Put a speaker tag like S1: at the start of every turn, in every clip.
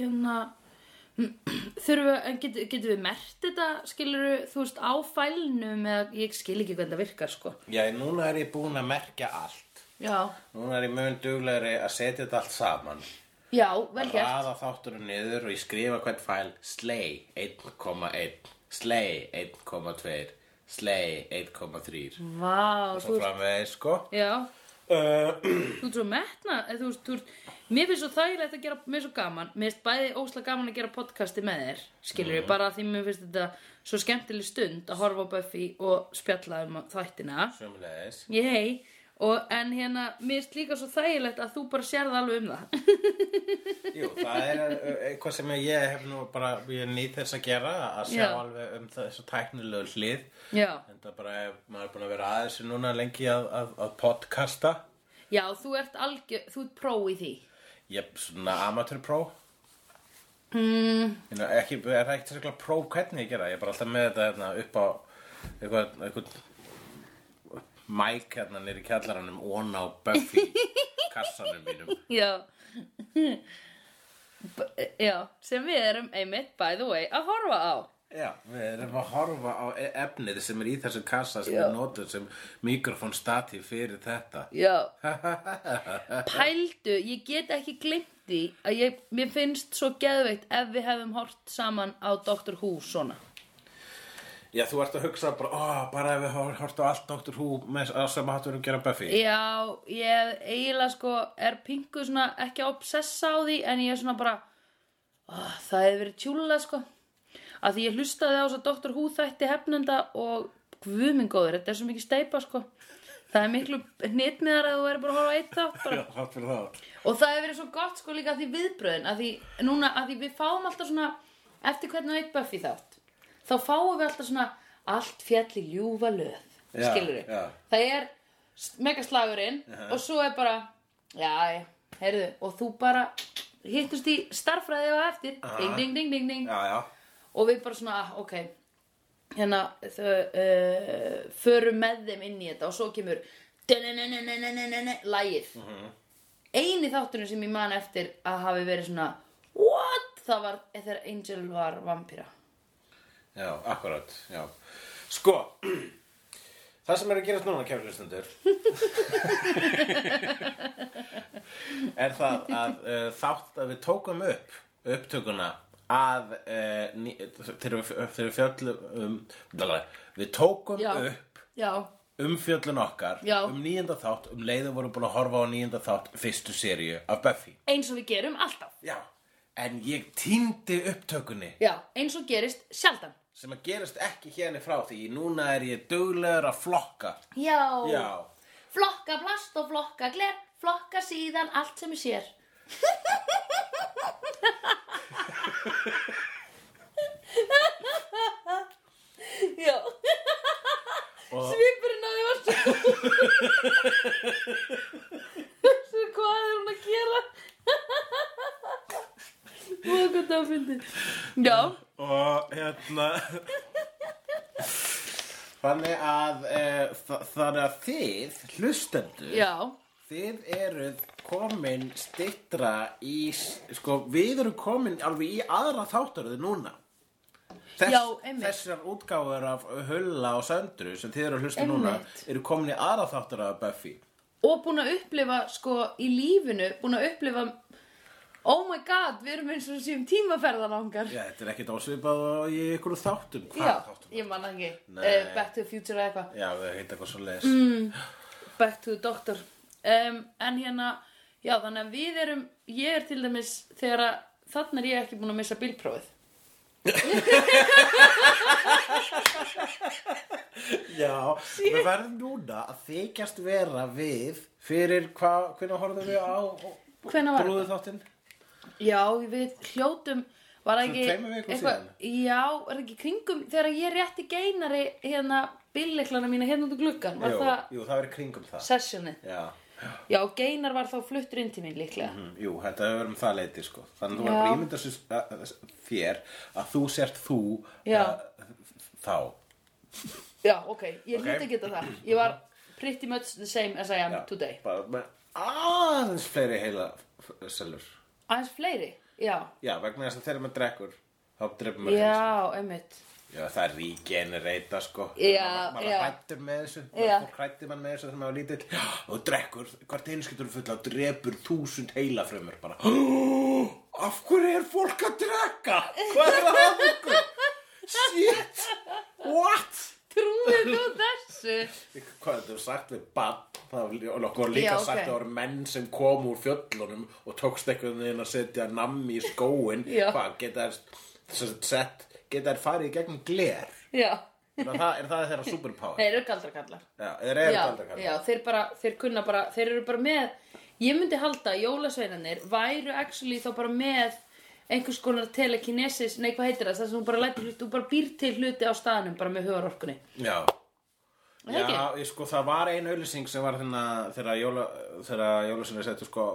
S1: hérna, Þurfum, við- en getum getu við mert þetta, skilur þú veist, á fælnum eða ég skil ekki hvernig það virkar, sko.
S2: Já, núna er ég búin að merkja allt.
S1: Já.
S2: Núna er ég mun duglegri að setja þetta allt saman.
S1: Já, vel gert.
S2: Raða þátturinn niður og ég skrifa hvern fæl slay 1,1, slay 1,2, slay 1,3.
S1: Mm. Vá, þú
S2: Svo
S1: veist,
S2: framvegis, sko.
S1: já,
S2: Uh,
S1: þú ert svo metna, eða þú veist, þú ert, mér finnst svo þægilegt að gera, mér er svo gaman, mér finnst bæði óslega gaman að gera podcasti með þér, skilur við, bara af því mér finnst þetta svo skemmtileg stund að horfa á Buffy og spjalla um þættina.
S2: Sjömmulegis.
S1: Ég, og en hérna, mér finnst líka svo þægilegt að þú bara sérð alveg um það.
S2: Jú, það er uh, eitthvað sem ég hef nú bara, ég nýt þess að gera, að sjá
S1: Já.
S2: alveg um þessu tæknilegu hlið.
S1: já.
S2: En það bara, ef maður er búin að vera aðeins núna lengi að, að, að podcasta.
S1: Já, þú ert algjör, þú ert pró í því.
S2: Ég er svona amatörpró. Mm. Ekki, er það ekkert sérstaklega pró hvernig ég gera? það? Ég er bara alltaf með þetta hérna, upp á eitthvað, eitthvað mæk hérna nýri kjallaranum on á Buffy kassanum mínum.
S1: Já. B já, sem við erum einmitt, by the way, að horfa á.
S2: Já, við erum að horfa á e- efnið sem er í þessum kassa sem
S1: Já.
S2: við notum sem mikrofónstatíf fyrir þetta.
S1: Já. Pældu, ég get ekki glimt því að ég, mér finnst svo geðveikt ef við hefum hort saman á Dr. Who svona.
S2: Já, þú ert að hugsa bara, ó, bara ef við hor- hort á allt Dr. Who með að sem hattur um að gera Buffy.
S1: Já, ég eiginlega sko er pingu svona ekki að obsessa á því en ég er svona bara, oh, það hefur verið tjúlulega sko. Að því ég hlustaði á þess að Dr. Who þætti hefnenda og guðmingóður, þetta er svo mikið steipa sko. Það er miklu hnitmiðar að þú verður bara að horfa á eitt þátt bara.
S2: Já, þátt fyrir þátt.
S1: Og það hefur verið svo gott sko líka að því viðbröðin að því, núna, að því við fáum alltaf svona eftir hvernig eitt Buffy þátt þá fáum við alltaf svona allt fjall í ljúfa löð
S2: Já,
S1: skilur við,
S2: já.
S1: það er s- megaslagurinn og svo er bara já, já, heyrðu og þú bara hittust í starfræði á eftir, ding, ding, ding, ding, ding
S2: Já, já.
S1: og við bara svona, ah, ok hérna, þau uh, förum með þeim inn í þetta og svo kemur lægið eini þáttunum sem ég man eftir að hafi verið svona what, það var þegar Angel var vampíra
S2: Já, akkurat, já. Sko, það sem er að gerast núna, kjærlustundur, er það að uh, þátt að við tókum upp upptökuna að uh, ný, þegar við, þegar við fjöllum um, blablabla, við tókum
S1: Já.
S2: upp
S1: já,
S2: umfjöllun okkar
S1: Já.
S2: um nýjenda þátt, um leiðum vorum búin að horfa á nýjenda þátt fyrstu seríu af Buffy.
S1: eins og við gerum alltaf
S2: Já. En ég týndi upptökunni
S1: já, eins og gerist sjaldan
S2: sem að gerast ekki hérna frá því núna er ég duglegur að flokka
S1: já,
S2: já,
S1: flokka plast og flokka gler flokka síðan allt sem ég sér já svipurinn að því var svo svo hvað er hún að gera og hvað það fyndi já,
S2: og hérna þannig að e, þa- þannig að þið hlustendur
S1: já,
S2: þið eruð komin stittra í s- sko, við erum komin alveg í aðra þáttaröðu núna Þess,
S1: Já, einmitt.
S2: þessar útgáfur af Hulla og Söndru sem þið eru að hlusta núna
S1: Einmitt.
S2: eru komin í aðra þáttaröðu af Buffy
S1: og búin að upplifa sko í lífinu, búin að upplifa oh my god, við erum eins og séum tímaferðan ángar
S2: Já, þetta er ekkert ásvipað og í ykkur þáttum. Hvað
S1: já,
S2: þáttum?
S1: ég man það ekki
S2: Nei.
S1: uh, back to the future eða eitthvað
S2: Já, við heita eitthvað svo leis. Mm.
S1: back to the doctor um, en hérna, já þannig að við erum ég er til dæmis þegar að þannig er ég ekki búin að missa bílprófið
S2: Já, við verðum núna að þykjast vera við fyrir hvað, hvernig horfðum við á
S1: hvenær var
S2: brúðu þáttinn?
S1: Já, við hljótum var það ekki
S2: Svona tveimur vikum
S1: já, er það ekki kringum þegar ég rétti geinari hérna billeklana mína hérna út úr gluggan var
S2: Jú,
S1: það
S2: jú, það verið kringum það.
S1: sessionið
S2: Já,
S1: já, geinar var þá fluttur inn til mín líklega
S2: mm, jú, þetta hefur verið um það leiti, sko. Þannig að þú
S1: Já.
S2: verður bara ímynda sér að- að- þér að þú sért þú
S1: Já.
S2: að, þá.
S1: já, ok, ég okay.
S2: Ok.
S1: hljóta að geta það ég var pretty much the same as I am
S2: Já,
S1: today
S2: Bara með aðeins fleiri heila f- sellur.
S1: aðeins fleiri, já
S2: Já, vegna þess að þegar maður drekkur, þá þá drefum við
S1: Já, einmitt.
S2: Já, það er regenerata sko
S1: Já,
S2: Maður
S1: já.
S2: hrættur með þessu
S1: Já.
S2: Fólk hrættir mann með þessu þegar maður var lítill Já, og drekkur, hvert einskiptur er fulla og drepur þúsund heilafrumur bara Af hverju er fólk að drekka? Hvað er það að ykkur? Shit, what?
S1: Trúðu þú þessu?
S2: Hvað er þetta sagt við bann? Það var okkur líka
S1: Já, ok.
S2: sagt að það voru menn sem kom úr fjöllunum og tókst einhvern veginn að setja nammi í skóin
S1: Já.
S2: Hvað, geta þær sett, geta þær farið í gegnum gler?
S1: Já.
S2: Er það, er það þeirra superpower?
S1: Þeir eru galdrakallar.
S2: Já, þeir eru
S1: já,
S2: galdrakarlar.
S1: já, þeir bara, þeir kunna bara, þeir eru bara með, ég myndi halda að jólasveinarnir væru actually þá bara með einhvers konar telekinesis, nei hvað heitir það, það sem þú bara lætir hluti, þú bara býr til hluti á staðanum bara með högarorkunni.
S2: Já.
S1: Er það
S2: Já, ég sko, það var ein auðlýsing sem var þarna þegar jóla, þegar jólasveinu settu sko,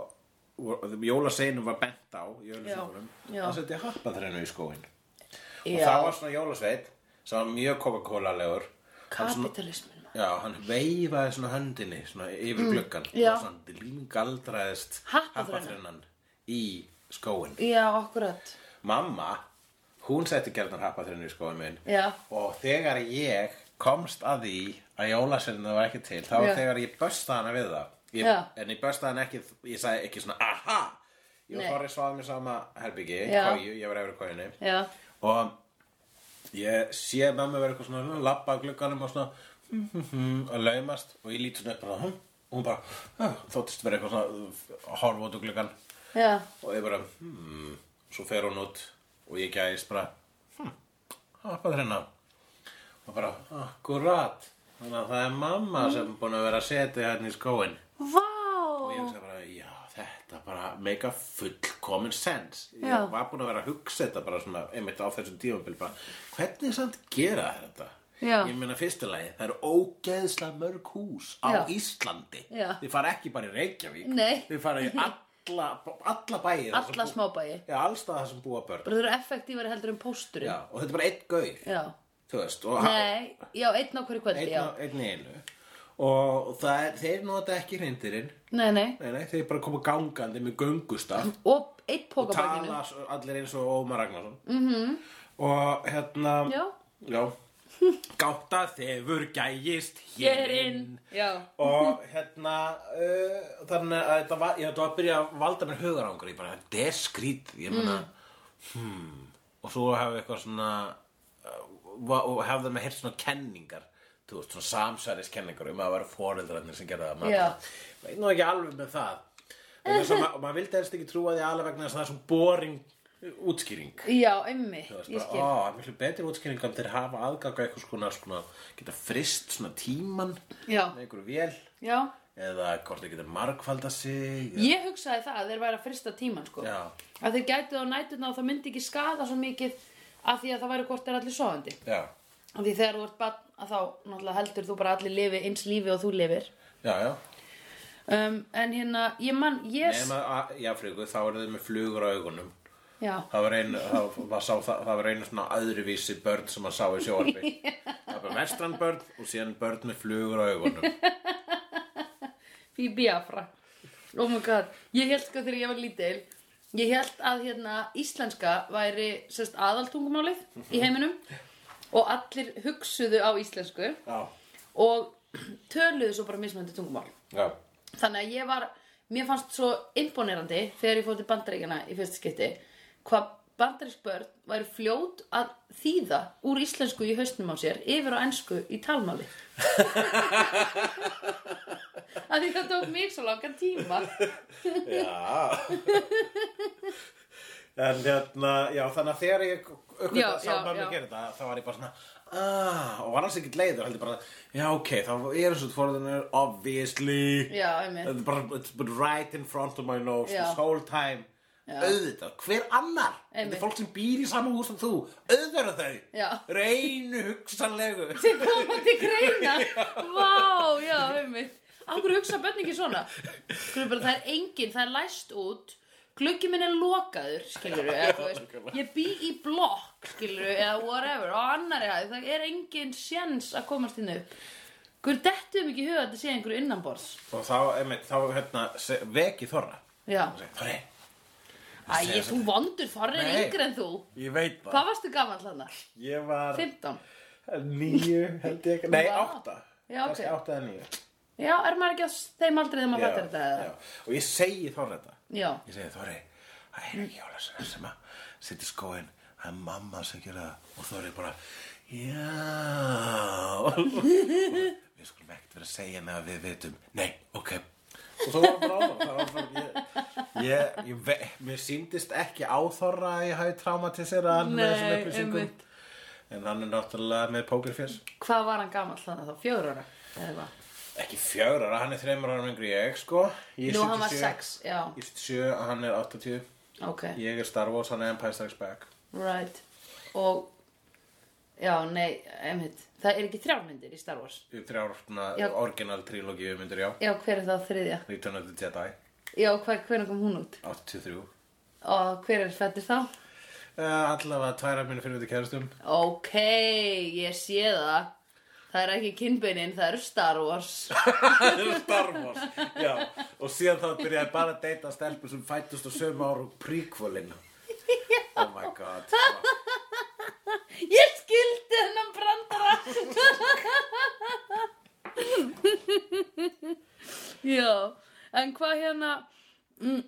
S2: jólaseinum var bent á í auðlýsingunum.
S1: Já, já.
S2: Það setti happatrennu í skóin. Og
S1: Já,
S2: það var svona jólasveit sem var mjög Coca-Cola-legur. Hann svona-
S1: kapitalismin. maður.
S2: Já, hann veifaði svona höndinni, svona yfir gluggan.
S1: Mm. já.
S2: Og svona límgaldraðist
S1: Happatrennan.
S2: í skóin.
S1: Já, akkurat.
S2: Mamma, hún setti gerðan happatrennu í skóin minn.
S1: Já,
S2: Og þegar ég komst að því að jólasveinu var ekki til, þá var
S1: Já.
S2: þegar ég bösta hana við það. Ég,
S1: Já.
S2: en ég bösta hana ekki, ég sagði ekki svona, aha! Ég
S1: Nei.
S2: og Þorri sváði mér sama herbyggi,
S1: Já.
S2: kóju, ég var efri kójunni.
S1: já,
S2: Og ég sé mamma vera eitthvað svona, labba að glugganum og svona, hm, hm, hm, og laumast. Og ég lít svona upp bara, hm, og hún bara, ah, þóttist vera eitthvað svona, horfa út úr gluggan.
S1: já,
S2: Og ég bara, hmm, svo fer hún út og ég gæðist bara, hmm, happað hérna. Og bara, akkurat, þannig að það er mamma sem er búin að vera að setja hérna í skóin. Og ég
S1: vá,
S2: hugsa bara, já, þetta bara make a fullkomin sense. Ég
S1: Já.
S2: var búin að vera að hugsa þetta bara svona, einmitt á þessum tímabil, bara, hvernig samt gera þeir þetta?
S1: Já.
S2: Ég meina fyrsta lagi, það eru ógeðslega mörg hús á
S1: Já.
S2: Íslandi.
S1: Já.
S2: Þið fara ekki bara í Reykjavík.
S1: Nei.
S2: Þið fara í alla, alla bæi.
S1: alla smábæi.
S2: Já, allstað það sem búa börn.
S1: Bara þau eru effektífari heldur en pósturinn.
S2: Já, og þetta er bara einn gaur,
S1: Já.
S2: þú veist, og
S1: Nei, já, einn á hverju kvöldi,
S2: einn,
S1: já.
S2: á- einn í einu. Og það er, þeir nota ekki hreindirinn,
S1: Nei, nei.
S2: nei, nei, þeir bara koma gangandi með göngustaf
S1: Og einn
S2: og
S1: pókabækinu.
S2: tala s- allir eins og Ómar Ragnarsson. Mm -hmm. Og hérna,
S1: Mhm. Já.
S2: já, gáta þefur gægist
S1: Hér
S2: hér
S1: inn.
S2: inn.
S1: Já.
S2: og hérna uh, þannig að þetta var, ég, þetta var að byrja að valda mér hugarangur, ég bara, þetta er skrítið
S1: Mm.
S2: ég meina, hmm og svo hefði eitthvað svona uh, va- og hefði með heyrt svona kenningar þú veist, svona samsæriskenningar um að vera foreldrarnir sem gerða það
S1: Já.
S2: maður veit nú ekki alveg með það Vegna þess að ma- og maður vildi helst ekki trúa því alveg vegna þess að það er svona boring uh, útskýring
S1: Já, einmitt,
S2: Það
S1: ég
S2: er
S1: skil.
S2: bara, ó, miklu betri útskýringum þeir hafa aðganga eitthvað svona, svona geta frist svona tíman
S1: Já.
S2: með einhverju vél
S1: Já,
S2: eða hvort þau getur margfalda sig eða-
S1: ég hugsaði það að þeir væri að frista tíman, sko.
S2: Já.
S1: Að þeir gætu það á nætuna og það myndi ekki skada svo mikið af því að það væri hvort er allir sofandi.
S2: já,
S1: Af því þegar þú ert bann að þá náttúrulega heldur þú bara að allir lifi eins lífi og þú lifir.
S2: já, já
S1: Um, en hérna, ég mann, ég...
S2: nema að, já fríku, þá eru þau með flugur á augunum
S1: Já.
S2: það var einu, það var, sá, það, það var einu svona öðruvísi börn sem maður sá í sjóarfi það var vestran börn og síðan börn með flugur á augunum
S1: í Biafra oh my god, ég held sko þegar ég var lítil ég held að hérna íslenska væri sérst aðaltungumálið í heiminum og allir hugsuðu á íslensku
S2: já,
S1: og töluðu svo bara mismöndi tungumál
S2: já,
S1: þannig að ég var, mér fannst svo imponerandi þegar ég fór til bandaríkjana í fyrsta skipti hvað bandarísk börn væri fljót að þýða úr íslensku í hausnum á sér yfir á ensku í talmáli að því það tók mig svo langan tíma
S2: já. en hérna já, þannig að þegar ég
S1: Já,
S2: uppgötta sá
S1: já,
S2: mamma
S1: já.
S2: gera þetta, þá var ég bara svona ah, og var alls ekkert leiður heldur bara, já ok, þá er þessu tvorðunir obviously
S1: já, einmitt
S2: It's bara, it's been right in front of my nose
S1: Já.
S2: this whole time auðvitað, hver annar þetta
S1: Einmitt.
S2: er fólk sem býr í sama hús sem þú auðvitað eru þau,
S1: Já.
S2: reynu hugsanlegu
S1: þið koma til greina vá, já, einmitt af hverju hugsa börn ekki svona hverju bara, það er engin, það er læst út gluggi minn er lokaður skilur eða þú veist ég bý í blokk, skilur eða whatever á annari hæð, það er engin sjens að komast inn upp hverju dettum ekki í huga að þetta sé einhverju innanborðs
S2: og þá, einmitt, þá hérna, se- veki þorra
S1: já,
S2: Og segi, þorri,
S1: Æ, þú vondur þorrið er
S2: Nei.
S1: yngri en þú.
S2: Ég veit það.
S1: Hvað varstu gaman hlanna?
S2: Ég var
S1: 15.
S2: níu, held ég ekki. Nei,
S1: Vá.
S2: átta.
S1: Já, ok.
S2: Kannski átta eða níu.
S1: Já, er maður ekki á þeim aldrei þegar maður
S2: Já,
S1: fattar þetta? eða?
S2: já. Og ég segi Þorri þetta.
S1: Já.
S2: Ég segi Þorri, það er ekki jólasveinar sem að setja skóin. Það er mamma sem gera það. Og Þorri bara, já. við skulum ekkert vera að segja henni að við vitum. Nei, ok. Og svo var bara áfram. Það var bara, ég, ég, ég, ve- mér síndist ekki á Þorra að ég hafi traumatiserað hann með
S1: Nei,
S2: þessum upplýsingum.
S1: einmitt.
S2: En hann er náttúrulega með pókerfjörs.
S1: Hvað var hann gaman hlanna þá? Fjör ára? Eða hvað?
S2: Ekki fjögur ára, hann er þreymur ára yngri en ég, sko. Ég
S1: Nú,
S2: er
S1: hann var
S2: 77.
S1: 6. Já,
S2: Ég er 77 og hann er 80
S1: ok.
S2: Ég er Star Wars, hann er Empire Strikes Back
S1: Right. Og, já, nei, einmitt. Það er ekki þrjármyndir í Star Wars.
S2: Í Þrjárna
S1: Já.
S2: orginal trilógíu myndir, já
S1: Já, hver er það þriðja?
S2: Return of the Jedi,
S1: Já, hver, hvernig kom hún út?
S2: 83 uh,
S1: Og hver er fættir þá?
S2: Eh, Allavega tværa minni fyrir þetta kærastum
S1: Ok, ég sé það. Það er ekki kynbeinin, það eru Star Wars.
S2: Star Wars, já Og síðan þá byrjaði bara að deyta stelpur sem fættust á sömu ára og prequelin Oh my god
S1: Ég skildi hennan brandara. Já, en hvað hérna... Mm,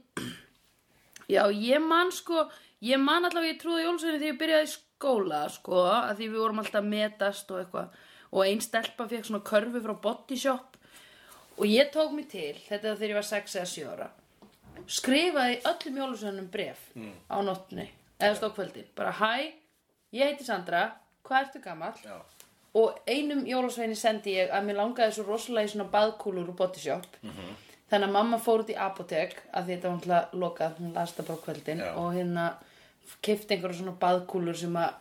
S1: já, ég man sko, ég man allavega ég trúði jólsveinu þegar ég byrjaði í skóla, sko, að því við vorum alltaf að metast og eitthvað. Og ein stelpa fekk svona körfu frá Body Shop og ég tók mig til, þetta er þegar ég var 6 eða 7 ára. skrifaði öllum jólusveinum bref á nóttunni eða stókvöldin, bara hæ ég heiti Sandra, hvað ertu gamall
S2: Já,
S1: og einum jólusveini sendi ég að mér langaði svo rosalega í svona baðkúlur úr bodyshop -hmm.
S2: Mhm.
S1: þannig að mamma fór út í apotek að því þetta var náttúrulega lokað, hún las það bara á kvöldin
S2: Já.
S1: og hérna kefti einhverja svona baðkúlur sem að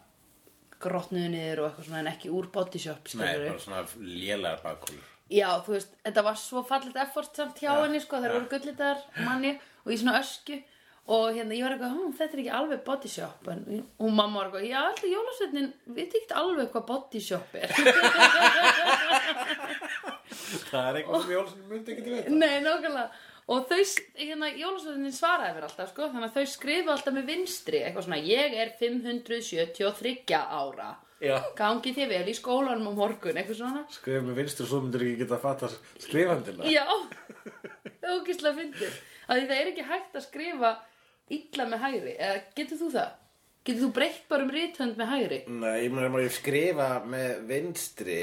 S1: grotnuðu niður og eitthvað svona en ekki úr bodyshop
S2: nei, bara svona lélegar bakkúlur
S1: Já, þú veist, þetta var svo fallit effort samt hjá
S2: Já,
S1: henni, sko, þeir
S2: já.
S1: voru gullitar manni og í svona ösku og hérna, ég var eitthvað, hm, þetta er ekki alveg body shop en, og mamma var eitthvað, já, alltaf jólasveitin við ekki alveg hvað body shop er
S2: Það er eitthvað sem Jólasson myndi ekki til þetta
S1: Nei, nákvæmlega og þau, hérna, jólasveitin svaraði mér alltaf, sko, þannig að þau skrifa alltaf með vinstri, eitthvað svona, ég er 573 ára
S2: Já
S1: gangi þér vel í skólanum á morgun, eitthvað svona
S2: Skrifa með vinstri og svo myndir ekki geta að fatta skrifandina
S1: Já, ógislega fyndið. Af því það er ekki hægt að skrifa illa með hægri. Eða getur þú það? Getur þú breytt bara um rithönd með hægri?
S2: Nei, ég meina ef ég skrifa með vinstri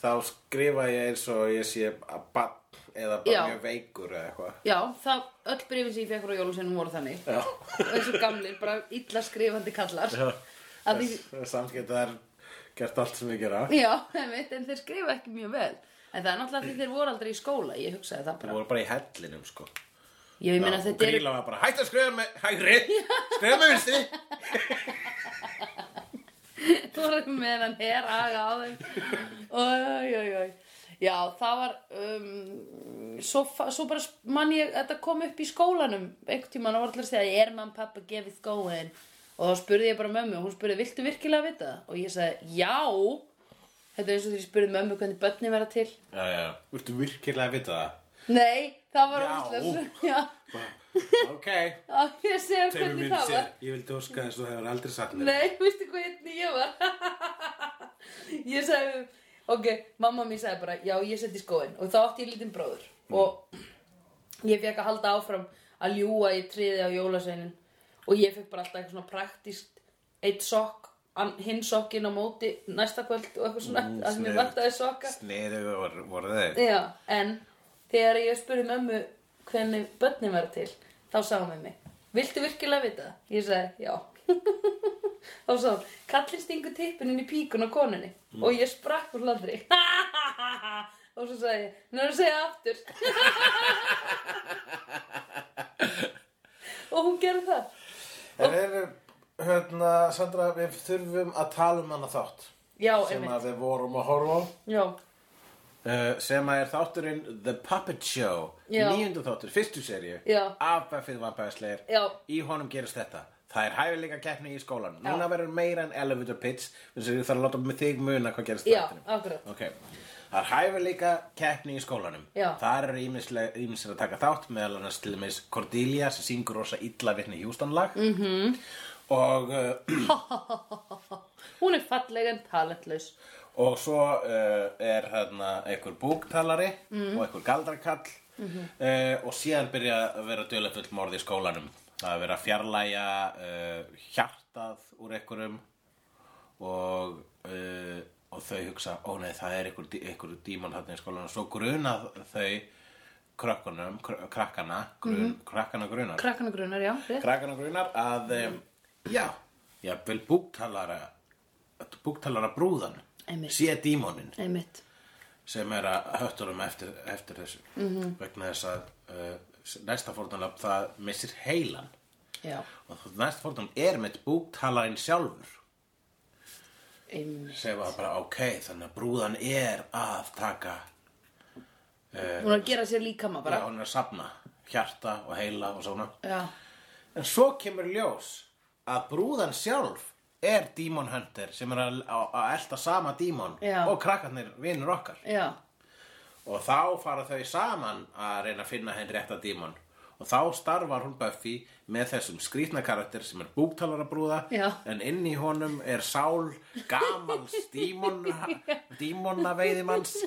S2: þá skrifa ég eins og ég sé að bann eða bara
S1: Já.
S2: mjög veikur eða eitthvað.
S1: Já, það, öll breyfin sem ég fekk frá jólusennum voru þannig.
S2: Já.
S1: Og eins og gamlir, bara illa skrifandi kallar.
S2: Já.
S1: Af því,
S2: Það er Samt geta þær gert allt sem ég gera.
S1: já, einmitt, en þeir skrifa ekki mjög vel. En það er náttúrulega því þeir voru aldrei í skóla, ég hugsaði það
S2: Það
S1: bara.
S2: voru bara í hellinum sko.
S1: Ég meina
S2: Já, og
S1: þetta er,
S2: Grýla var bara hætt að skrifa með hægri, skrifa með vinstri.
S1: þú voru með hann her aga á þeim. Oj, oj, oj. Já, það var, um, svo, fa- svo bara mann ég, þetta kom upp í skólanum, einhvern tímann og var alltaf að segja, er mann pappa gefið skóin? Og þá spurði ég bara mömmu, og hún spurði, viltu virkilega vita það? Og ég sagði, já, þetta er eins og því ég spurði mömmu hvernig börnin verða til.
S2: Já, já. Viltu virkilega að vita það?
S1: Nei, það var
S2: Já.
S1: óslega, já,
S2: Bara, ok.
S1: já, ég segja
S2: Tegur
S1: hvernig
S2: minn
S1: það
S2: sér,
S1: var.
S2: ég vildi óska þess að það hefur aldrei sagt mér.
S1: Nei, veistu hvernig ég var? ég sagði, ok, mamma mín sagði bara, já, ég seti skóin og þá átti ég lítinn bróður og ég fekk að halda áfram að ljúga í triði á jólasveinin og ég fekk bara alltaf eitthvað svona praktískt eitt sokk, an- hinn sokkin á móti næsta kvöld og eitthvað svona
S2: Mm,
S1: mm, að mér
S2: sniðugt.
S1: vantaði sokka
S2: Sniðu voru, voru þeir.
S1: Já, en þegar ég spurði mömmu hvernig börnin var til, þá sagði hún við mig, viltu virkilega vita það? Ég sagði, já. þá sagði hún, kallinn stingu tippininn í píkun á konunni
S2: Mm.
S1: og ég sprakk úr hladri. og svo sagði ég, nú er að segja aftur. og hún gerði það.
S2: En við erum, hérna, Sandra, við þurfum að tala um hana þátt
S1: Já,
S2: sem
S1: einmitt.
S2: að við vorum að horfa á
S1: Já,
S2: uh, sem að er þátturinn The Puppet Show
S1: Já.
S2: nýjundu þáttur, fyrstu serju
S1: Já.
S2: af Buffy the Vampire Slayer
S1: Já.
S2: í honum gerist þetta það er hæfileika keppni í skólan
S1: Já.
S2: núna verður meira en elevator pitch þess að ég þarf að láta með þig muna hvað gerist í
S1: já,
S2: þættinum.
S1: akkurat.
S2: ok, Það er hæfileika keppni í skólanum.
S1: Já.
S2: Þar eru ímissir að taka þátt meðal annars til þess Cordelia sem syngur rosa illa vitni hjústanlag. Mm -hmm.
S1: Mhm.
S2: Og uh,
S1: Hún er falleg en talentlaus.
S2: Og svo uh, er hérna einhver búktalari og einhver galdrakall uh, og síðan byrja að vera dulefull morð í skólanum. Það er verið að fjarlægja uh, hjartað úr einhverjum og, uh, og þau hugsa, ó nei það er einhver, dí- einhver dímon þarna í skólanum. Svo grunað þau krökkunum, kr krakkana, grun, krakkana grunar.
S1: Krakkana grunar, já, rétt.
S2: Krakkana grunar að, um, já, já, vel búktalara, búktalara brúðan
S1: Einmitt.
S2: sé dímonin
S1: Einmitt.
S2: sem er að höttunum eftir, eftir þessu
S1: Mhm.
S2: -hmm. vegna þess að uh, næsta fórnalöf það missir heilan
S1: Já,
S2: og þá- næsta fórnalöf er með búktalarinn sjálfur
S1: einmitt.
S2: sem var bara ok, þannig að brúðan er að taka, Eh,
S1: Hún er að gera sér líkama
S2: já,
S1: bara.
S2: hún er að safna hjarta og heila og svona
S1: Já.
S2: En svo kemur í ljós að brúðan sjálf er Demon Hunter sem er að, að, að elta sama Demon
S1: Já.
S2: og krakkarnir vinnur okkar.
S1: Já. Já.
S2: Og þá fara þau saman að reyna að finna henn rétta Demon. Og þá starfar hún Buffy með þessum skrýtna karakter sem er búktalara brúða
S1: Já.
S2: en inn í honum er sál gamals dímon, dímona veiðimanns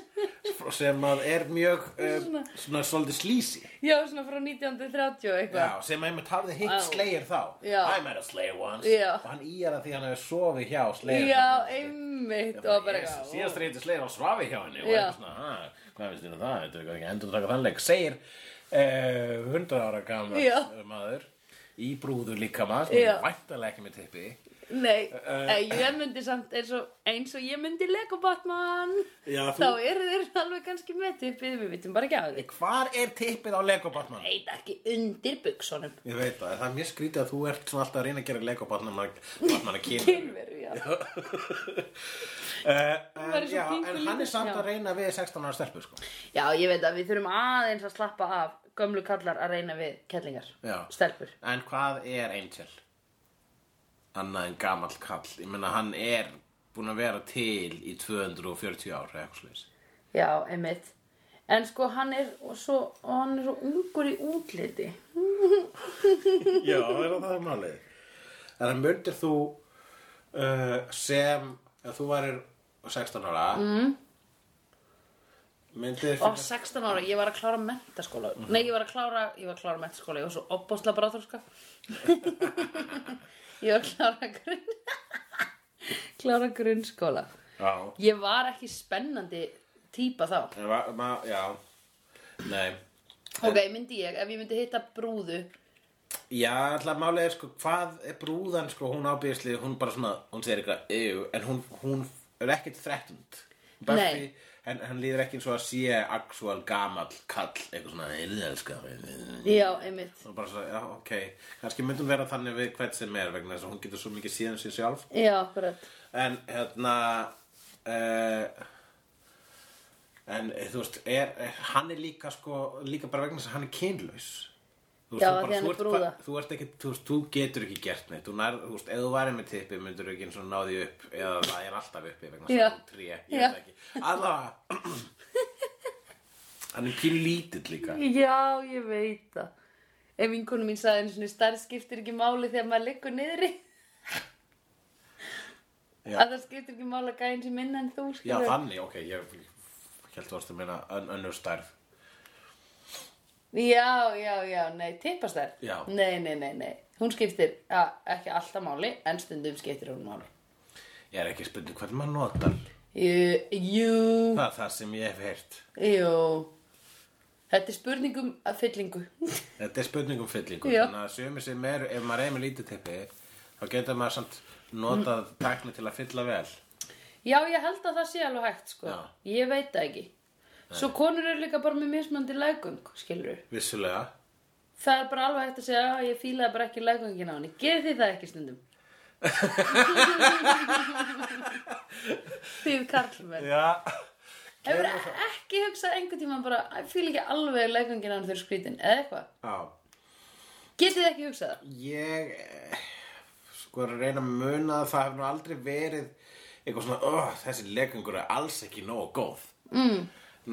S2: sem að er mjög uh, svona svolítið slísi.
S1: svona frá 1930 og eitthvað.
S2: Já, sem einmitt hafði hitt Slayer þá
S1: Já.
S2: I met a Slayer once
S1: Já.
S2: og hann íjar að því hann hefur sofið hjá
S1: Já,
S2: Slayer
S1: einmitt. Og bara
S2: Jesus,
S1: eitthvað.
S2: síðast reyndi Slayer og svafi hjá henni og
S1: Já.
S2: eitthvað svona, "Ha, hvað finnst þér um það, þetta er ekki endur að taka þannleik segir eh, 100 ára
S1: Já.
S2: gammal maður í brúðu líka maður
S1: Já.
S2: sem er væntalega ekki með tippi
S1: Nei,
S2: Eh,
S1: uh, ég myndi samt eins og, eins og ég myndi Lego Batman
S2: Já,
S1: Þá eru þeir alveg kannski með tippið, við vitum bara ekki að því
S2: Hvar er tippið á Lego Batman?
S1: Veit ekki undir buksunum
S2: Ég veit það, en það er mjög skrítið að þú ert svona alltaf að reyna að gera Lego Batman að, Batman að kynna
S1: Kynveru, já
S2: uh,
S1: væri
S2: en,
S1: svo
S2: já,
S1: pingu
S2: en hann
S1: lítill,
S2: er samt
S1: já.
S2: að reyna við 16 ára stelpu sko.
S1: Já, ég veit að við þurfum aðeins að slappa af gömlu kallar að reyna við kellingar
S2: Já.
S1: Stelpur
S2: En hvað er Angel? Annað en gamall kall. Ég meina hann er búinn að vera til í 240 ár eða eitthvað slags.
S1: Já, einmitt En sko, hann er og svo, og hann er svo ungur í útliti
S2: Já, það er það málið. En að myndir þú uh, sem, ef þú varir 16 ára, mm. myndir
S1: Og 16 ára, ég var að klára mentaskóla Nei, ég var að klára, ég var að klára mentaskóla Ég var svo opbóðsla bráþórska Ég var að klára grunn Klára grunnskóla
S2: Já.
S1: Ég var ekki spennandi típa þá
S2: En va- ma- Já. Nei.
S1: Ok, myndi ég, ef ég myndi hitta brúðu
S2: Já, alltaf málega sko, hvað er brúðan sko, hún ábyrðisli, hún bara svona, hún segir eitthvað, ew, en hún, hún er ekkert þrettund. Buffy,
S1: Nei.
S2: en hann líður ekki eins og að sé actual gamall kall, eitthvað svona, eruði elska.
S1: Já, einmitt
S2: Og bara svona, já, ok, kannski myndum vera þannig við hvert sem er vegna þess að hún getur svo mikið síðan sér sjálf.
S1: Já, akkurat
S2: En, hérna, uh, en eh, þú veist, er, er, hann er líka sko, líka bara vegna þess að hann er kynlaus. Þú
S1: Já,
S2: þú
S1: af því hann
S2: þú
S1: er
S2: ert
S1: brúða.
S2: bara- Þú, ert ekki, þú, veist, þú getur ekki gert neitt Þú, nær, þú veist, ef þú væri með tippi myndur ekki eins og náði upp eða það er alltaf uppi vegna þess
S1: Já.
S2: að þú tré, ég
S1: Já.
S2: veit ekki Allavega Hann er pínu lítill líka
S1: Já, ég veit það Ef vinkonu mín sagði einu sinni starf skiptir ekki máli þegar maður liggur niðri
S2: Já.
S1: Að það skiptir ekki máli að gæðin sem minna en þú
S2: Já,
S1: skilur.
S2: þannig, ok, ég held þú varst að meina ön, önnur stærð
S1: Já, já, já, nei, tippast þær
S2: Já.
S1: Nei, nei, nei, nei, hún skiptir ja, ekki alltaf máli, en stundum skiptir hún máli
S2: Ég er ekki spurning hvernig maður notar
S1: Jú, jú,
S2: Það er það sem ég hef heyrt
S1: jú Þetta er spurningum að fyllingu
S2: Þetta er spurning um fyllingu
S1: Já.
S2: Þannig að sumir sem eru, ef maður er með lítið tippi þá getur maður samt notað
S1: Mm.
S2: tækni til að fylla vel
S1: Já, ég held að það sé alveg hægt, sko
S2: Já.
S1: Ég veit það ekki Svo konur eru líka bara með mismandi lægung, skilur
S2: Vissulega
S1: Það er bara alveg hægt að segja, "Já, ég fílaði bara ekki lægungin á henni Gerið þið það ekki stundum Þið karlmenn
S2: Já
S1: Hefur ekki hugsað einhvern tímann bara "Æ, fíla ekki alveg leikangina hann fyrir skrítin eða eitthvað?
S2: Já,
S1: Getið þið ekki hugsað það?
S2: ég eh, sko er að reyna að muna að það hefur nú aldrei verið eitthvað svona, oh, þessi legengur er alls ekki nógu góð mm.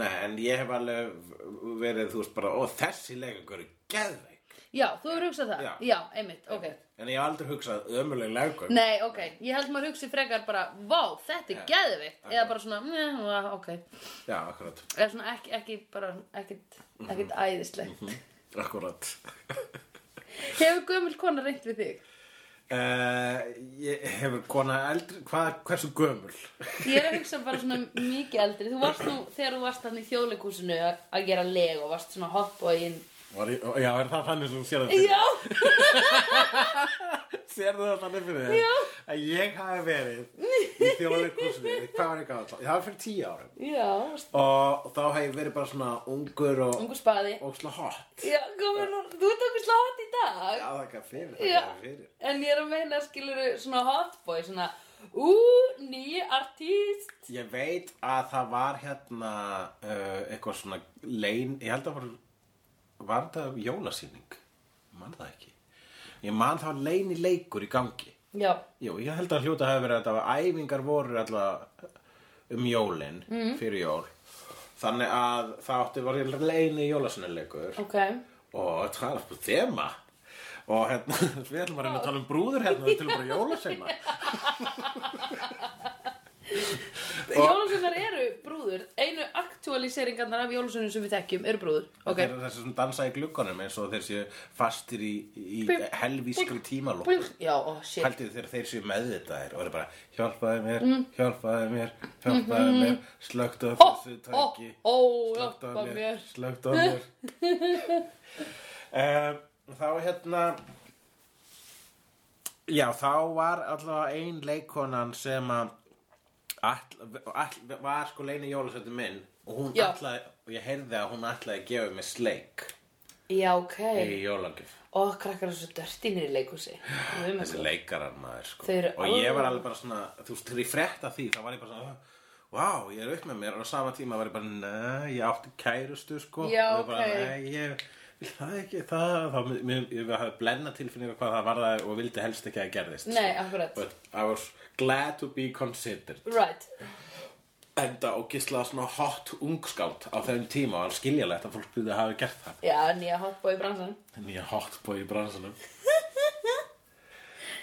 S2: Nei, en ég hef alveg verið, þú veist bara, ó, þessi legengur er geðveik
S1: Já, þú hefur hugsað það?
S2: Já.
S1: einmitt, ok.
S2: En ég hef aldrei hugsað ömuleg legum
S1: Nei, ok, ég held maður hugsi frekar bara, vá, þetta er
S2: Já.
S1: geðvitt. Eða bara svona, njá, ok.
S2: Já, akkurat,
S1: Eða svona ekki, ekki bara, ekkit,
S2: Mhm.
S1: ekkit æðislegt.
S2: akkurat
S1: Hefur gömul kona reynt við þig?
S2: uh, Ég hefur kona eldri, hvað, hversu gömul?
S1: Ég er að hugsa bara svona mikið eldri. Þú varst nú, þegar þú varst hann í þjóðleikúsinu að að gera leg og varst svona hoppbóin.
S2: Var ég, já, er það þannig sem þú sér það fyrir?
S1: Já,
S2: Sérðu það þannig fyrir þér?
S1: Já.
S2: Að ég hafi verið í þjóðleikursinu, hvað var ég gáð? Ég hafi fyrir tíu árum
S1: já,
S2: og þá hef ég verið bara svona ungur og
S1: ungu spaði.
S2: og svona hot.
S1: Já, komin, nú, þú ert okkur slá hot í dag.
S2: Já, það er ekki að fyrir, það er
S1: Já,
S2: ekki að fyrir.
S1: en ég er að meina skilur svona hotboy, svona ú, nýji artíst
S2: Ég veit að það var hérna uh, eitthvað svona lein, ég held að var, var það jólasýning? Ég man það ekki. Ég man það var leini leikur í gangi.
S1: Já,
S2: Jú, ég held að hljóta hafi verið að þetta var æfingar voru alltaf um jólin fyrir jól. Þannig að það átti var leini jólasýnileikur
S1: ok
S2: og það er bara þema. Og hérna, við ætlum að reyna að tala um brúður hérna, við ætlum bara jólasýna.
S1: Jólusunar eru brúður Einu aktualiseringarnar af jólusunum sem við þekkjum eru brúður Ok,
S2: Okay. Þeir eru þessi sem dansa í glugganum eins og þeir séu fastir í, í
S1: Bing,
S2: helvískri
S1: Bling.
S2: tímalokku.
S1: já, ó, shit
S2: Haldið þegar þeir séu meðvitaðir og eru bara hjálpaði mér, hjálpaði mér, hjálpaði mér, slögt á
S1: Ó,
S2: þessu
S1: ó,
S2: tæki,
S1: ó,
S2: slögt á
S1: hjálpa
S2: mér,
S1: mér
S2: slögt á mér. um, þá hérna, já þá var allavega ein leikonan sem að all, all, var sko leina jólasötu minn og hún
S1: Já.
S2: ætlaði, og ég heyrði að hún ætlaði að gefa mér sleik
S1: Já, ok
S2: í jólagjöf
S1: Ó, krakkar eru svo dörtinir í leikhúsi Nú um
S2: þessi
S1: þessu.
S2: leikarar maður sko.
S1: Þau eru
S2: og ég var
S1: alveg-
S2: alveg bara svona þú veist, þegar ég frétta því þá var ég bara svona Vá, ég er upp með mér og á sama tíma var ég bara Nei, ég átti kærustu sko
S1: Já,
S2: og ég bara,
S1: ókei.
S2: Nei, ég vil það ekki það þá, mér, ég hafði blenna tilfinningu hvað það var það og vildi helst ekki að það gerðist sko.
S1: Nei, akkurat
S2: But I was glad to be considered
S1: Right
S2: Enda og gísla svona hot ungskátt á þeim tíma og alveg skiljalegt að fólk byrði að hafa gert það
S1: Já, nýja hotboy í bransan
S2: Nýja hot boy í bransanum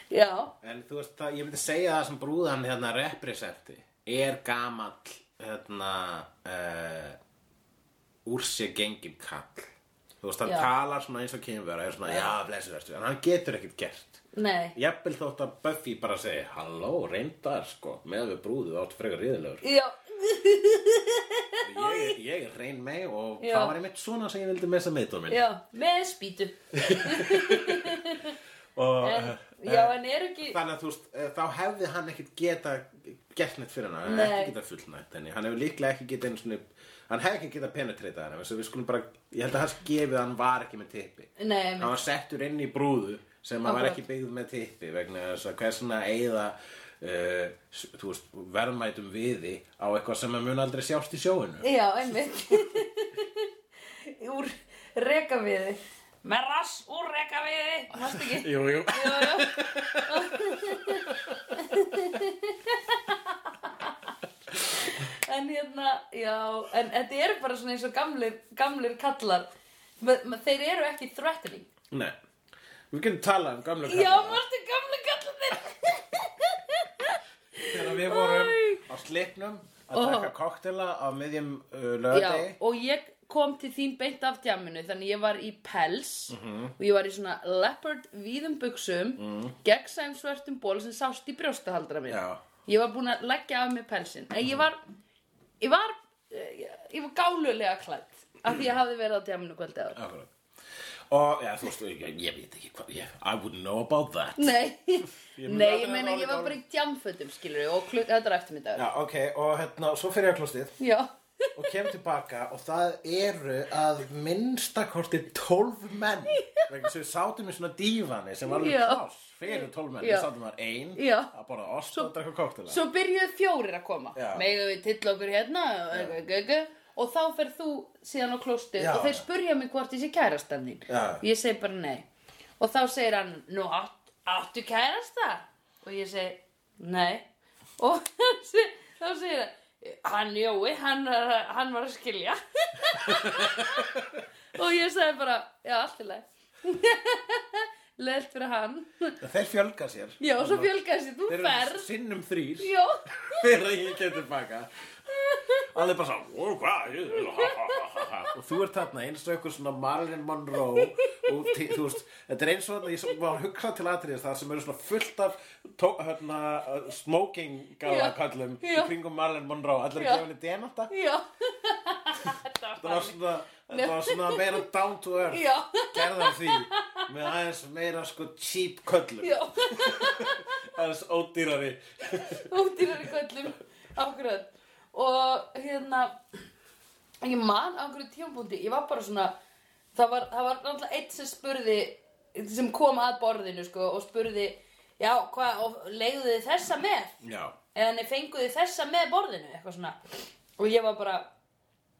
S1: Já,
S2: En þú veist, það, ég myndi segja það sem brúðan hérna representi er gamall hérna uh, úr sér gengin kall þú veist, hann
S1: Já.
S2: talar svona eins og kynverða er svona, já, blessu verstu, en hann getur ekkert gert
S1: nei
S2: jafnvel þótt að Buffy bara segi halló, reyndar, sko, með við brúðu þú átt frekar ríðilegur
S1: Já,
S2: ég, ég er reyn með og
S1: Já.
S2: það var einmitt svona sem ég vildi messa meðdómin
S1: já, með spýtu
S2: og
S1: en,
S2: eh,
S1: Já, en er ekki
S2: Þannig að þú veist, eh, þá hefði hann ekkit geta gert neitt fyrir hana, hann
S1: Nei.
S2: hefði ekki geta fullnætt henni, hann hefur líklega ekki geta einu svona, hann hefði ekki geta penetreitað henni, þess að við skulum bara, ég held að hans gefið að hann var ekki með tippi.
S1: Nei, einmitt.
S2: Hann var settur inn í brúðu sem hann var
S1: Akkurat.
S2: ekki byggð með tippi vegna þess að hversna eigða, uh, s- þú veist, verðmætum viði á eitthvað sem hann mun aldrei sjást í sjóinu.
S1: Já, einmitt Úr rekaviði Með rass úr rekaviði Mást ekki
S2: Jú, jú.
S1: Jú, jú. En hérna, já En þetta eru bara svona eins og gamlir, gamlir kallar með, með, Þeir eru ekki threatening
S2: Nei, við getum talað um gamla
S1: Já,
S2: kallana.
S1: mástu gamli kallarnir
S2: Þegar við vorum
S1: Æ.
S2: á slipnum að taka koktela á miðjum uh,
S1: Já,
S2: lögadegi.
S1: og ég kom til þín beint af djaminu þannig ég var í pels og ég var í svona leopard víðum buksum mm -hmm. gegnsæm svörtum ból sem sást í brjóstahaldra mér
S2: Já.
S1: ég var búin að leggja af mér pelsin en ég var ég var, eh, ég, ég var gálulega klætt af því ég hafði verið á djaminu kvöldi áður
S2: Akkurat. Og, já, þú veist, ég, ég veit ekki hvað, ég, I wouldn't know about that.
S1: Nei,
S2: mun
S1: nei, ég
S2: aldrei
S1: meina ég
S2: hafa orðið
S1: var bara í djamfötum skilur og klukk, þetta er eftir
S2: Já, ok, og hérna, svo fyrir ég á klostið
S1: Já,
S2: og kem tilbaka og það eru að minnstakorti 12 menn. Vegna sem við sátum í svona dífani sem var alveg
S1: Já.
S2: kláss fyrir 12 menn.
S1: Já.
S2: Við sátum var ein
S1: Já.
S2: að borða ost og drekka koktela.
S1: Svo byrjuðu fjórir að koma
S2: Já.
S1: Megum við tilla okkur hérna og- Og þá ferð þú síðan á klóstið
S2: Já.
S1: Og þeir spurja mig hvort ég sé kærastan þín
S2: Já.
S1: Og ég segi bara nei Og þá segir hann Nú átt, áttu kærasta? Og ég segi nei og þá segir hann hann Jói, hann, er- hann var að skilja og ég sagði bara já, allt í lagi leilt fyrir hann
S2: Þeir fjölga sér
S1: já, og svo fjölgaði sér, þú
S2: Þeir eru
S1: ferð
S2: sinnum þrýr
S1: já,
S2: Þegar ég kem tilbaka Allir bara svona "Ó, hvað, ég- ha, ha, ha, ha, ha." Og þú ert þarna eins og eitthvað svona Marilyn Monroe og ti- þú veist, Þetta er eins og þarna, ég var að hugsa til atriðis Það sem eru svona fullt af tó, hérna, smoking
S1: Já.
S2: gáðakallum Í
S1: Já.
S2: kringum Marilyn Monroe Allir
S1: Já.
S2: að gefa henni denata
S1: já
S2: Þetta var svona, þetta var svona meira down to earth
S1: já,
S2: Gerðan því Með aðeins meira sko cheap köllum
S1: já
S2: Aðeins ódýrari
S1: ódýrari köllum akkurat og hérna ég man á einhverju tímapunkti ég var bara svona það var, það var náttúrulega eitt sem spurði sem kom að borðinu sko og spurði já hvað og leiðu þið þessa með
S2: Já
S1: eða nei fenguð þið þessa með borðinu eitthvað svona og ég var bara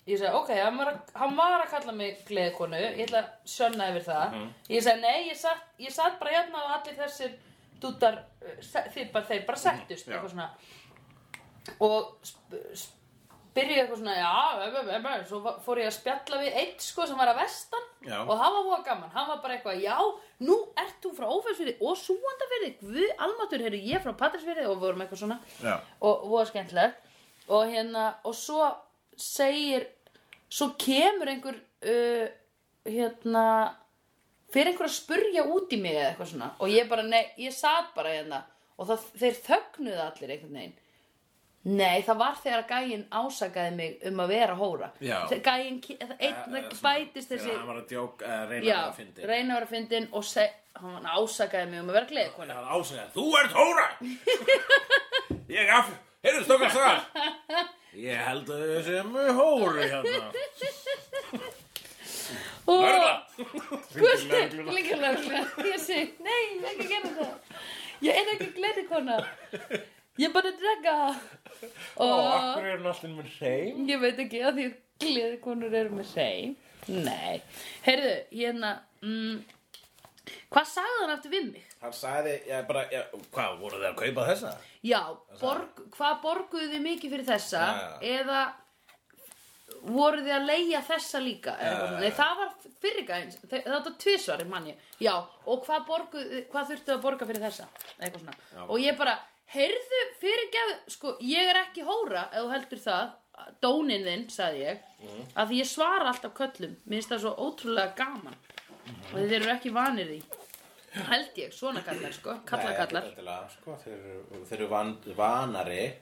S1: ég sagði ok, hann var, að- hann var að kalla mig gleðikonu, ég ætla að sönna yfir það
S2: Mhm.
S1: ég sagði nei, ég satt, ég satt bara hérna og allir þessir dútar, uh, se- þeir bara, þeir bara settust
S2: Mhm, já.
S1: eitthvað svona og sp sp byrjuði eitthvað svona já, em, em, em, em. svo va- fór ég að spjalla við eitt sko sem var að vestan
S2: Já.
S1: og það var voða gaman, hann var bara eitthvað já, nú ert þú frá Ófellsfyrði og Súandafyrði, Guð, Almatur, heyrðu ég frá Patrísfyrði og vorum eitthvað svona
S2: Já
S1: og voða skemmtilegt og hérna, og svo segir svo kemur einhver uh, hérna fyrir einhver að spurja út í mig eða eitthvað svona og ég bara, nei, ég sat bara hérna og það, þeir þögnuðu allir einhvern veginn Nei, það var þegar að gæinn ásakaði mig um að vera hóra.
S2: Já.
S1: Þegar Gæinn, ke- það- einn,
S2: Eh,
S1: það
S2: eh, svona,
S1: bætist
S2: þegar
S1: þessi
S2: hann var að djóka, uh, reyna
S1: já,
S2: að finna
S1: reyna að vera fyndin og seg, hann ásakaði mig um að vera gleðikona
S2: hann ásæða, þú ert hóra ég af heyrðu stokkar stokkar ég held að þau séum hóri hérna
S1: og
S2: Lögregla! Hringdu í
S1: Gusti,
S2: lögregluna.
S1: líka lögregla ég segi, nei, ekki gera það ég er ekki gleðikona ég er bara að drega
S2: og akkur
S1: og
S2: er hann allir með reym
S1: ég veit ekki að því að gleðikonur eru með seim nei, heyrðu, hérna mm, hvað sagði hann aftur við mig?
S2: hann sagði, ég bara, ég, hvað voru þeir að kaupa þessa
S1: já, borg, hvað borguðu þið mikið fyrir þessa
S2: Já, já.
S1: eða voru þið að leigja þessa líka eða eitthvað svona.
S2: já,
S1: Nei, það var fyrir gæðins það var tvisvar, mann ég já, og hvað, borguð, hvað þurftu að borga fyrir þessa eitthvað svona, og ég bara heyrðu, fyrir sko, ég er ekki hóra ef þú heldur það, dónin þinn sagði ég,
S2: Mhm.
S1: að því ég svara alltaf köllum, minnst það svo ótrúlega gaman og
S2: Mhm.
S1: þeir eru ekki vanir því held ég, svona kallar sko kalla kallar,
S2: Nei, ekki endilega, sko, þeir, eru- þeir eru van, vanari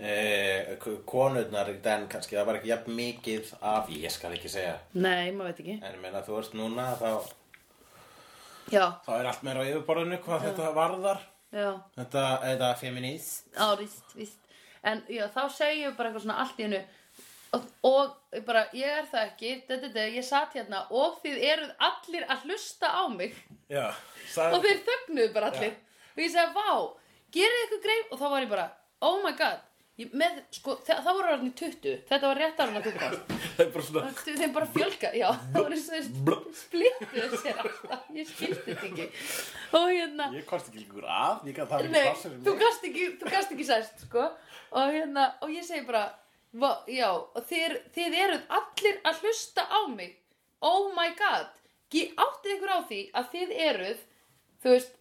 S2: eh, k- konurnar í den kannski, það var ekki jafn mikið af, ég skal ekki segja
S1: nei, maður veit ekki
S2: en ég meina þú ert núna þá
S1: já,
S2: þá er allt meira á yfirborðinu hvað þetta varðar
S1: já
S2: Þetta, þetta feminist
S1: Já, víst, víst. En já, þá segjum við bara eitthvað svona allt í hennu og, og ég bara, ég er það ekki, þetta, þetta, ég satt hérna og þið eruð allir að hlusta á mig
S2: Já,
S1: og
S2: sagði
S1: þeir þögnuðu bara allir og ég sagði, vá, gerið ykkur grein og þá var ég bara, oh my god, ég, með, sko, það, það voru orðin í 20, þetta var rétt árun að kuka
S2: Það er bara svona
S1: Þau- þeim bara fjölga, já, það var eins og
S2: Blum.
S1: þeir splittuðu sér alltaf, ég skildi þetta ekki og hérna
S2: Ég komst ekki ykkur að, ég gæti það ekki
S1: Nei,
S2: passa fyrir
S1: þú
S2: mig.
S1: gast ekki, þú gast ekki sæst, sko og hérna, og ég segi bara va, já, og þið, þið eruð allir að hlusta á mig oh my god, ég áttið ykkur á því að þið eruð þú veist,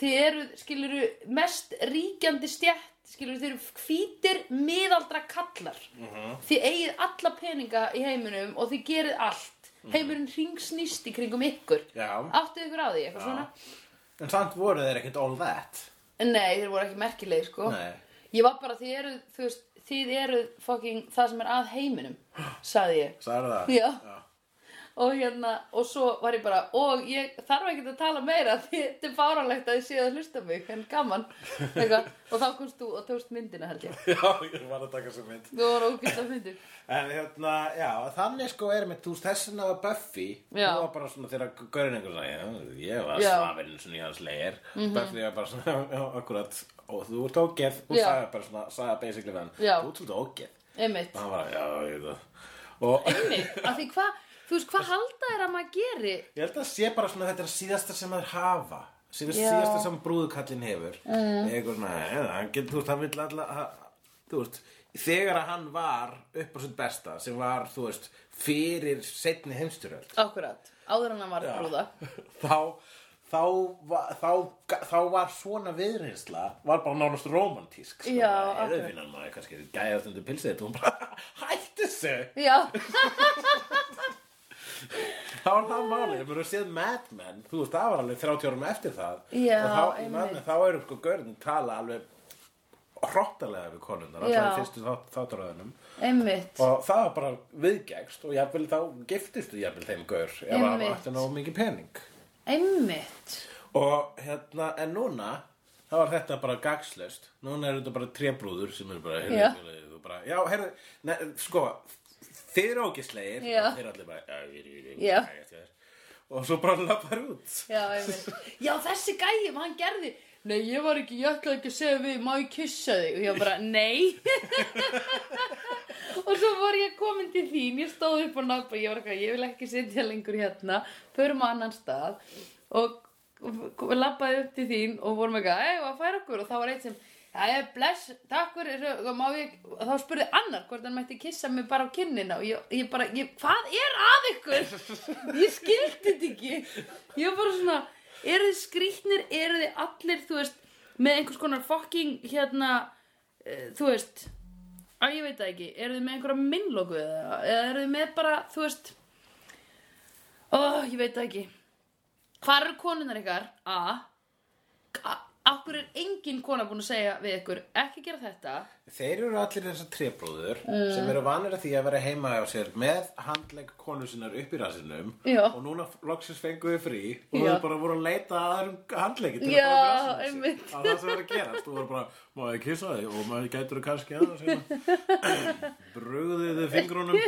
S1: þið eruð skiluru mest ríkjandi stjætt skiluru, þið eru hvítir miðaldra kallar,
S2: Mhm.
S1: þið eigið alla peninga í heiminum og þið gerið allt,
S2: Mhm.
S1: heimurinn ringsnýst í kringum ykkur,
S2: Já,
S1: áttið ykkur á því eitthvað svona,
S2: en samt voru þeir ekkert all that
S1: nei, þeir voru ekki merkilegir, sko
S2: Nei,
S1: Ég var bara, þið eruð, þú veist, þið eruð fucking það sem er að heiminum, sagði ég.
S2: sagði það
S1: Já. Og hérna, og svo var ég bara, og ég þarf ekkert að tala meira, því þetta er fáránlegt að þið séu að hlusta á mig, en gaman. Eitthvað, og þá komst þú og tókst myndina, held ég.
S2: Já, ég var að taka sem mynd
S1: Þú voru ógæst að myndu.
S2: En hérna, já, þannig sko erum við, þú veist, þessin að Buffy Hún
S1: Já.
S2: var bara svona þegar gaurinn einhver sagði "Já, Ég var
S1: Já. Mhm.
S2: svafinn svona í hans leir Buffy var bara svona, já, akkurat Og þú ert ógeð, hún
S1: Já.
S2: sagði bara svona Sagði basically við hann,
S1: Já.
S2: þú ert svolítið ógeð
S1: Einmitt.
S2: Og hann var, já, ég veit það Og
S1: Einmitt, af því hvað, þú veist, hvað halda er að maður geri?
S2: Ég held að sé bara svona að þetta er síðasta sem þeir hafa síðast,
S1: Já.
S2: síðasta sem brúðkallin hefur mm. eitthvað svona, eða, hann getur, þú veist, hann vill alla ha- þú veist, þegar að hann var upp á sitt besta, sem var, þú veist fyrir setni heimsturöld
S1: Akkurat, áður en hann var brúða
S2: þá þá, va- þá, ga- þá var svona viðreynsla var bara nánast sko. romantísk
S1: Já,
S2: eða
S1: akkurat.
S2: finnan maður kannski gæðast undir pilsið þetta, hún bara, hættu þessu
S1: Já,
S2: Það var það málið, ef maður hefur séð Mad Men, þú veist, það var alveg 30 árum eftir það
S1: Já,
S2: og þá, í
S1: einmitt.
S2: Mad Men, þá eru sko görðin tala alveg hrottalega við konundar,
S1: Já.
S2: alltaf í fyrstu þátt, þáttaröðunum
S1: einmitt
S2: og það var bara viðgægst og jafnvel þá giftistu jafnvel þeim gaur ef það
S1: Einmitt.
S2: ætti nógu mikið pening
S1: Einmitt
S2: og hérna, en núna þá var þetta bara gagslaust núna eru þetta bara trebrúður sem eru bara,
S1: Já.
S2: heyrðu, heyrðu, þú bara já, heyrðu, ne, sko þið eru ógislegir
S1: Já.
S2: þeir allir bara, já, ég er, ég er,
S1: Já.
S2: ég er og svo bara lappar út
S1: Já, einmitt Já, þessi gæjum, hann gerði Nei, ég var ekki, ég ætlaði ekki að segja við Má ég kyssa þig? Og ég bara, nei Og svo var ég komin til þín Ég stóð upp og nátt Ég var eitthvað, ég vil ekki sitja lengur hérna Förum á annan stað Og og labbaði upp til þín Og vorum eitthvað, ei, að færa okkur Og þá var eitt sem Jæja, bless, takk fyrir og má ég, og þá spurði annar hvort hann mætti kissa mig bara á kinnina og ég, ég bara, ég, hvað er að ykkur? Ég skildi þetta ekki Ég var bara svona, eru þið skrýtnir eru þið allir, þú veist með einhvers konar fucking, hérna uh, þú veist að ég veit það ekki, eru þið með einhverja minnlóku eða, eða eru þið með bara, þú veist ó, ég veit það ekki Hvar eru konunar ykkar? A. A. Akkur er engin kona búin að segja við ykkur, ekki gera þetta.
S2: þeir eru allir þessar trebrúður
S1: Mm.
S2: sem eru vanir að því að vera heima á sér með handlegg konu sinnar upp í rassinum
S1: Já.
S2: og núna loksins fenguðu frí og
S1: Já.
S2: þau bara voru að leita að aðrum handleggi til
S1: Já,
S2: að fara upp rassinum
S1: einmitt.
S2: það var það sem var að gera þú voru bara, má ég kissa þig og maður gætur kannski að það sem brugðið þið fingrunum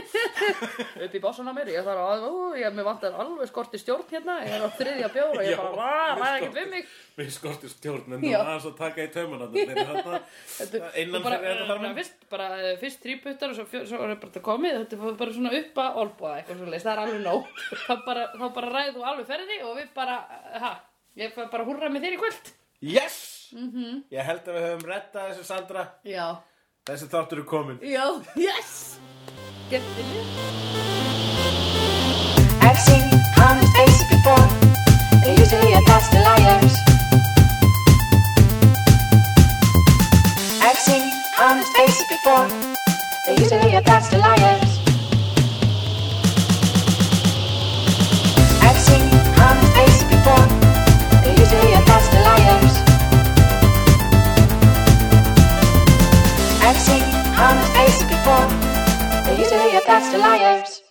S1: Upp í básana mér, ég þarf að, ó, ég með vantar alveg skorti stjórn hérna, ég er á þriðja bjóra, ég
S2: Já,
S1: bara, vá, ræða ekkert
S2: skorti-
S1: við mig.
S2: Við skorti stjórn en
S1: Já.
S2: það aðeins að taka í taumana hérna. þeir eru þarna innan
S1: bara,
S2: fyrir þetta þarf
S1: bara,
S2: með
S1: fyrst, bara, eh, fyrst þrýputtar og svo, fjör, svo er bara þetta komið, þetta er bara svona upp að olbúa eitthvað svo það er alveg nóg. þá, bara, þá bara ræði þú alveg ferði og við bara, eh, ha, ég fæ bara húrra með þér í kvöld.
S2: Yes!
S1: Mhm.
S2: Ég held að við höfum rettað þessu Sandra
S1: Já,
S2: þessi þáttur er komin
S1: já, yes! Gættinni.
S3: I've seen honest faces before. They're usually a pass to liars. I've seen honest faces before. They're usually a pass to liars. I've seen honest faces before. They're usually a pass to liars. I've seen honest faces before. They're usually a pass to liars.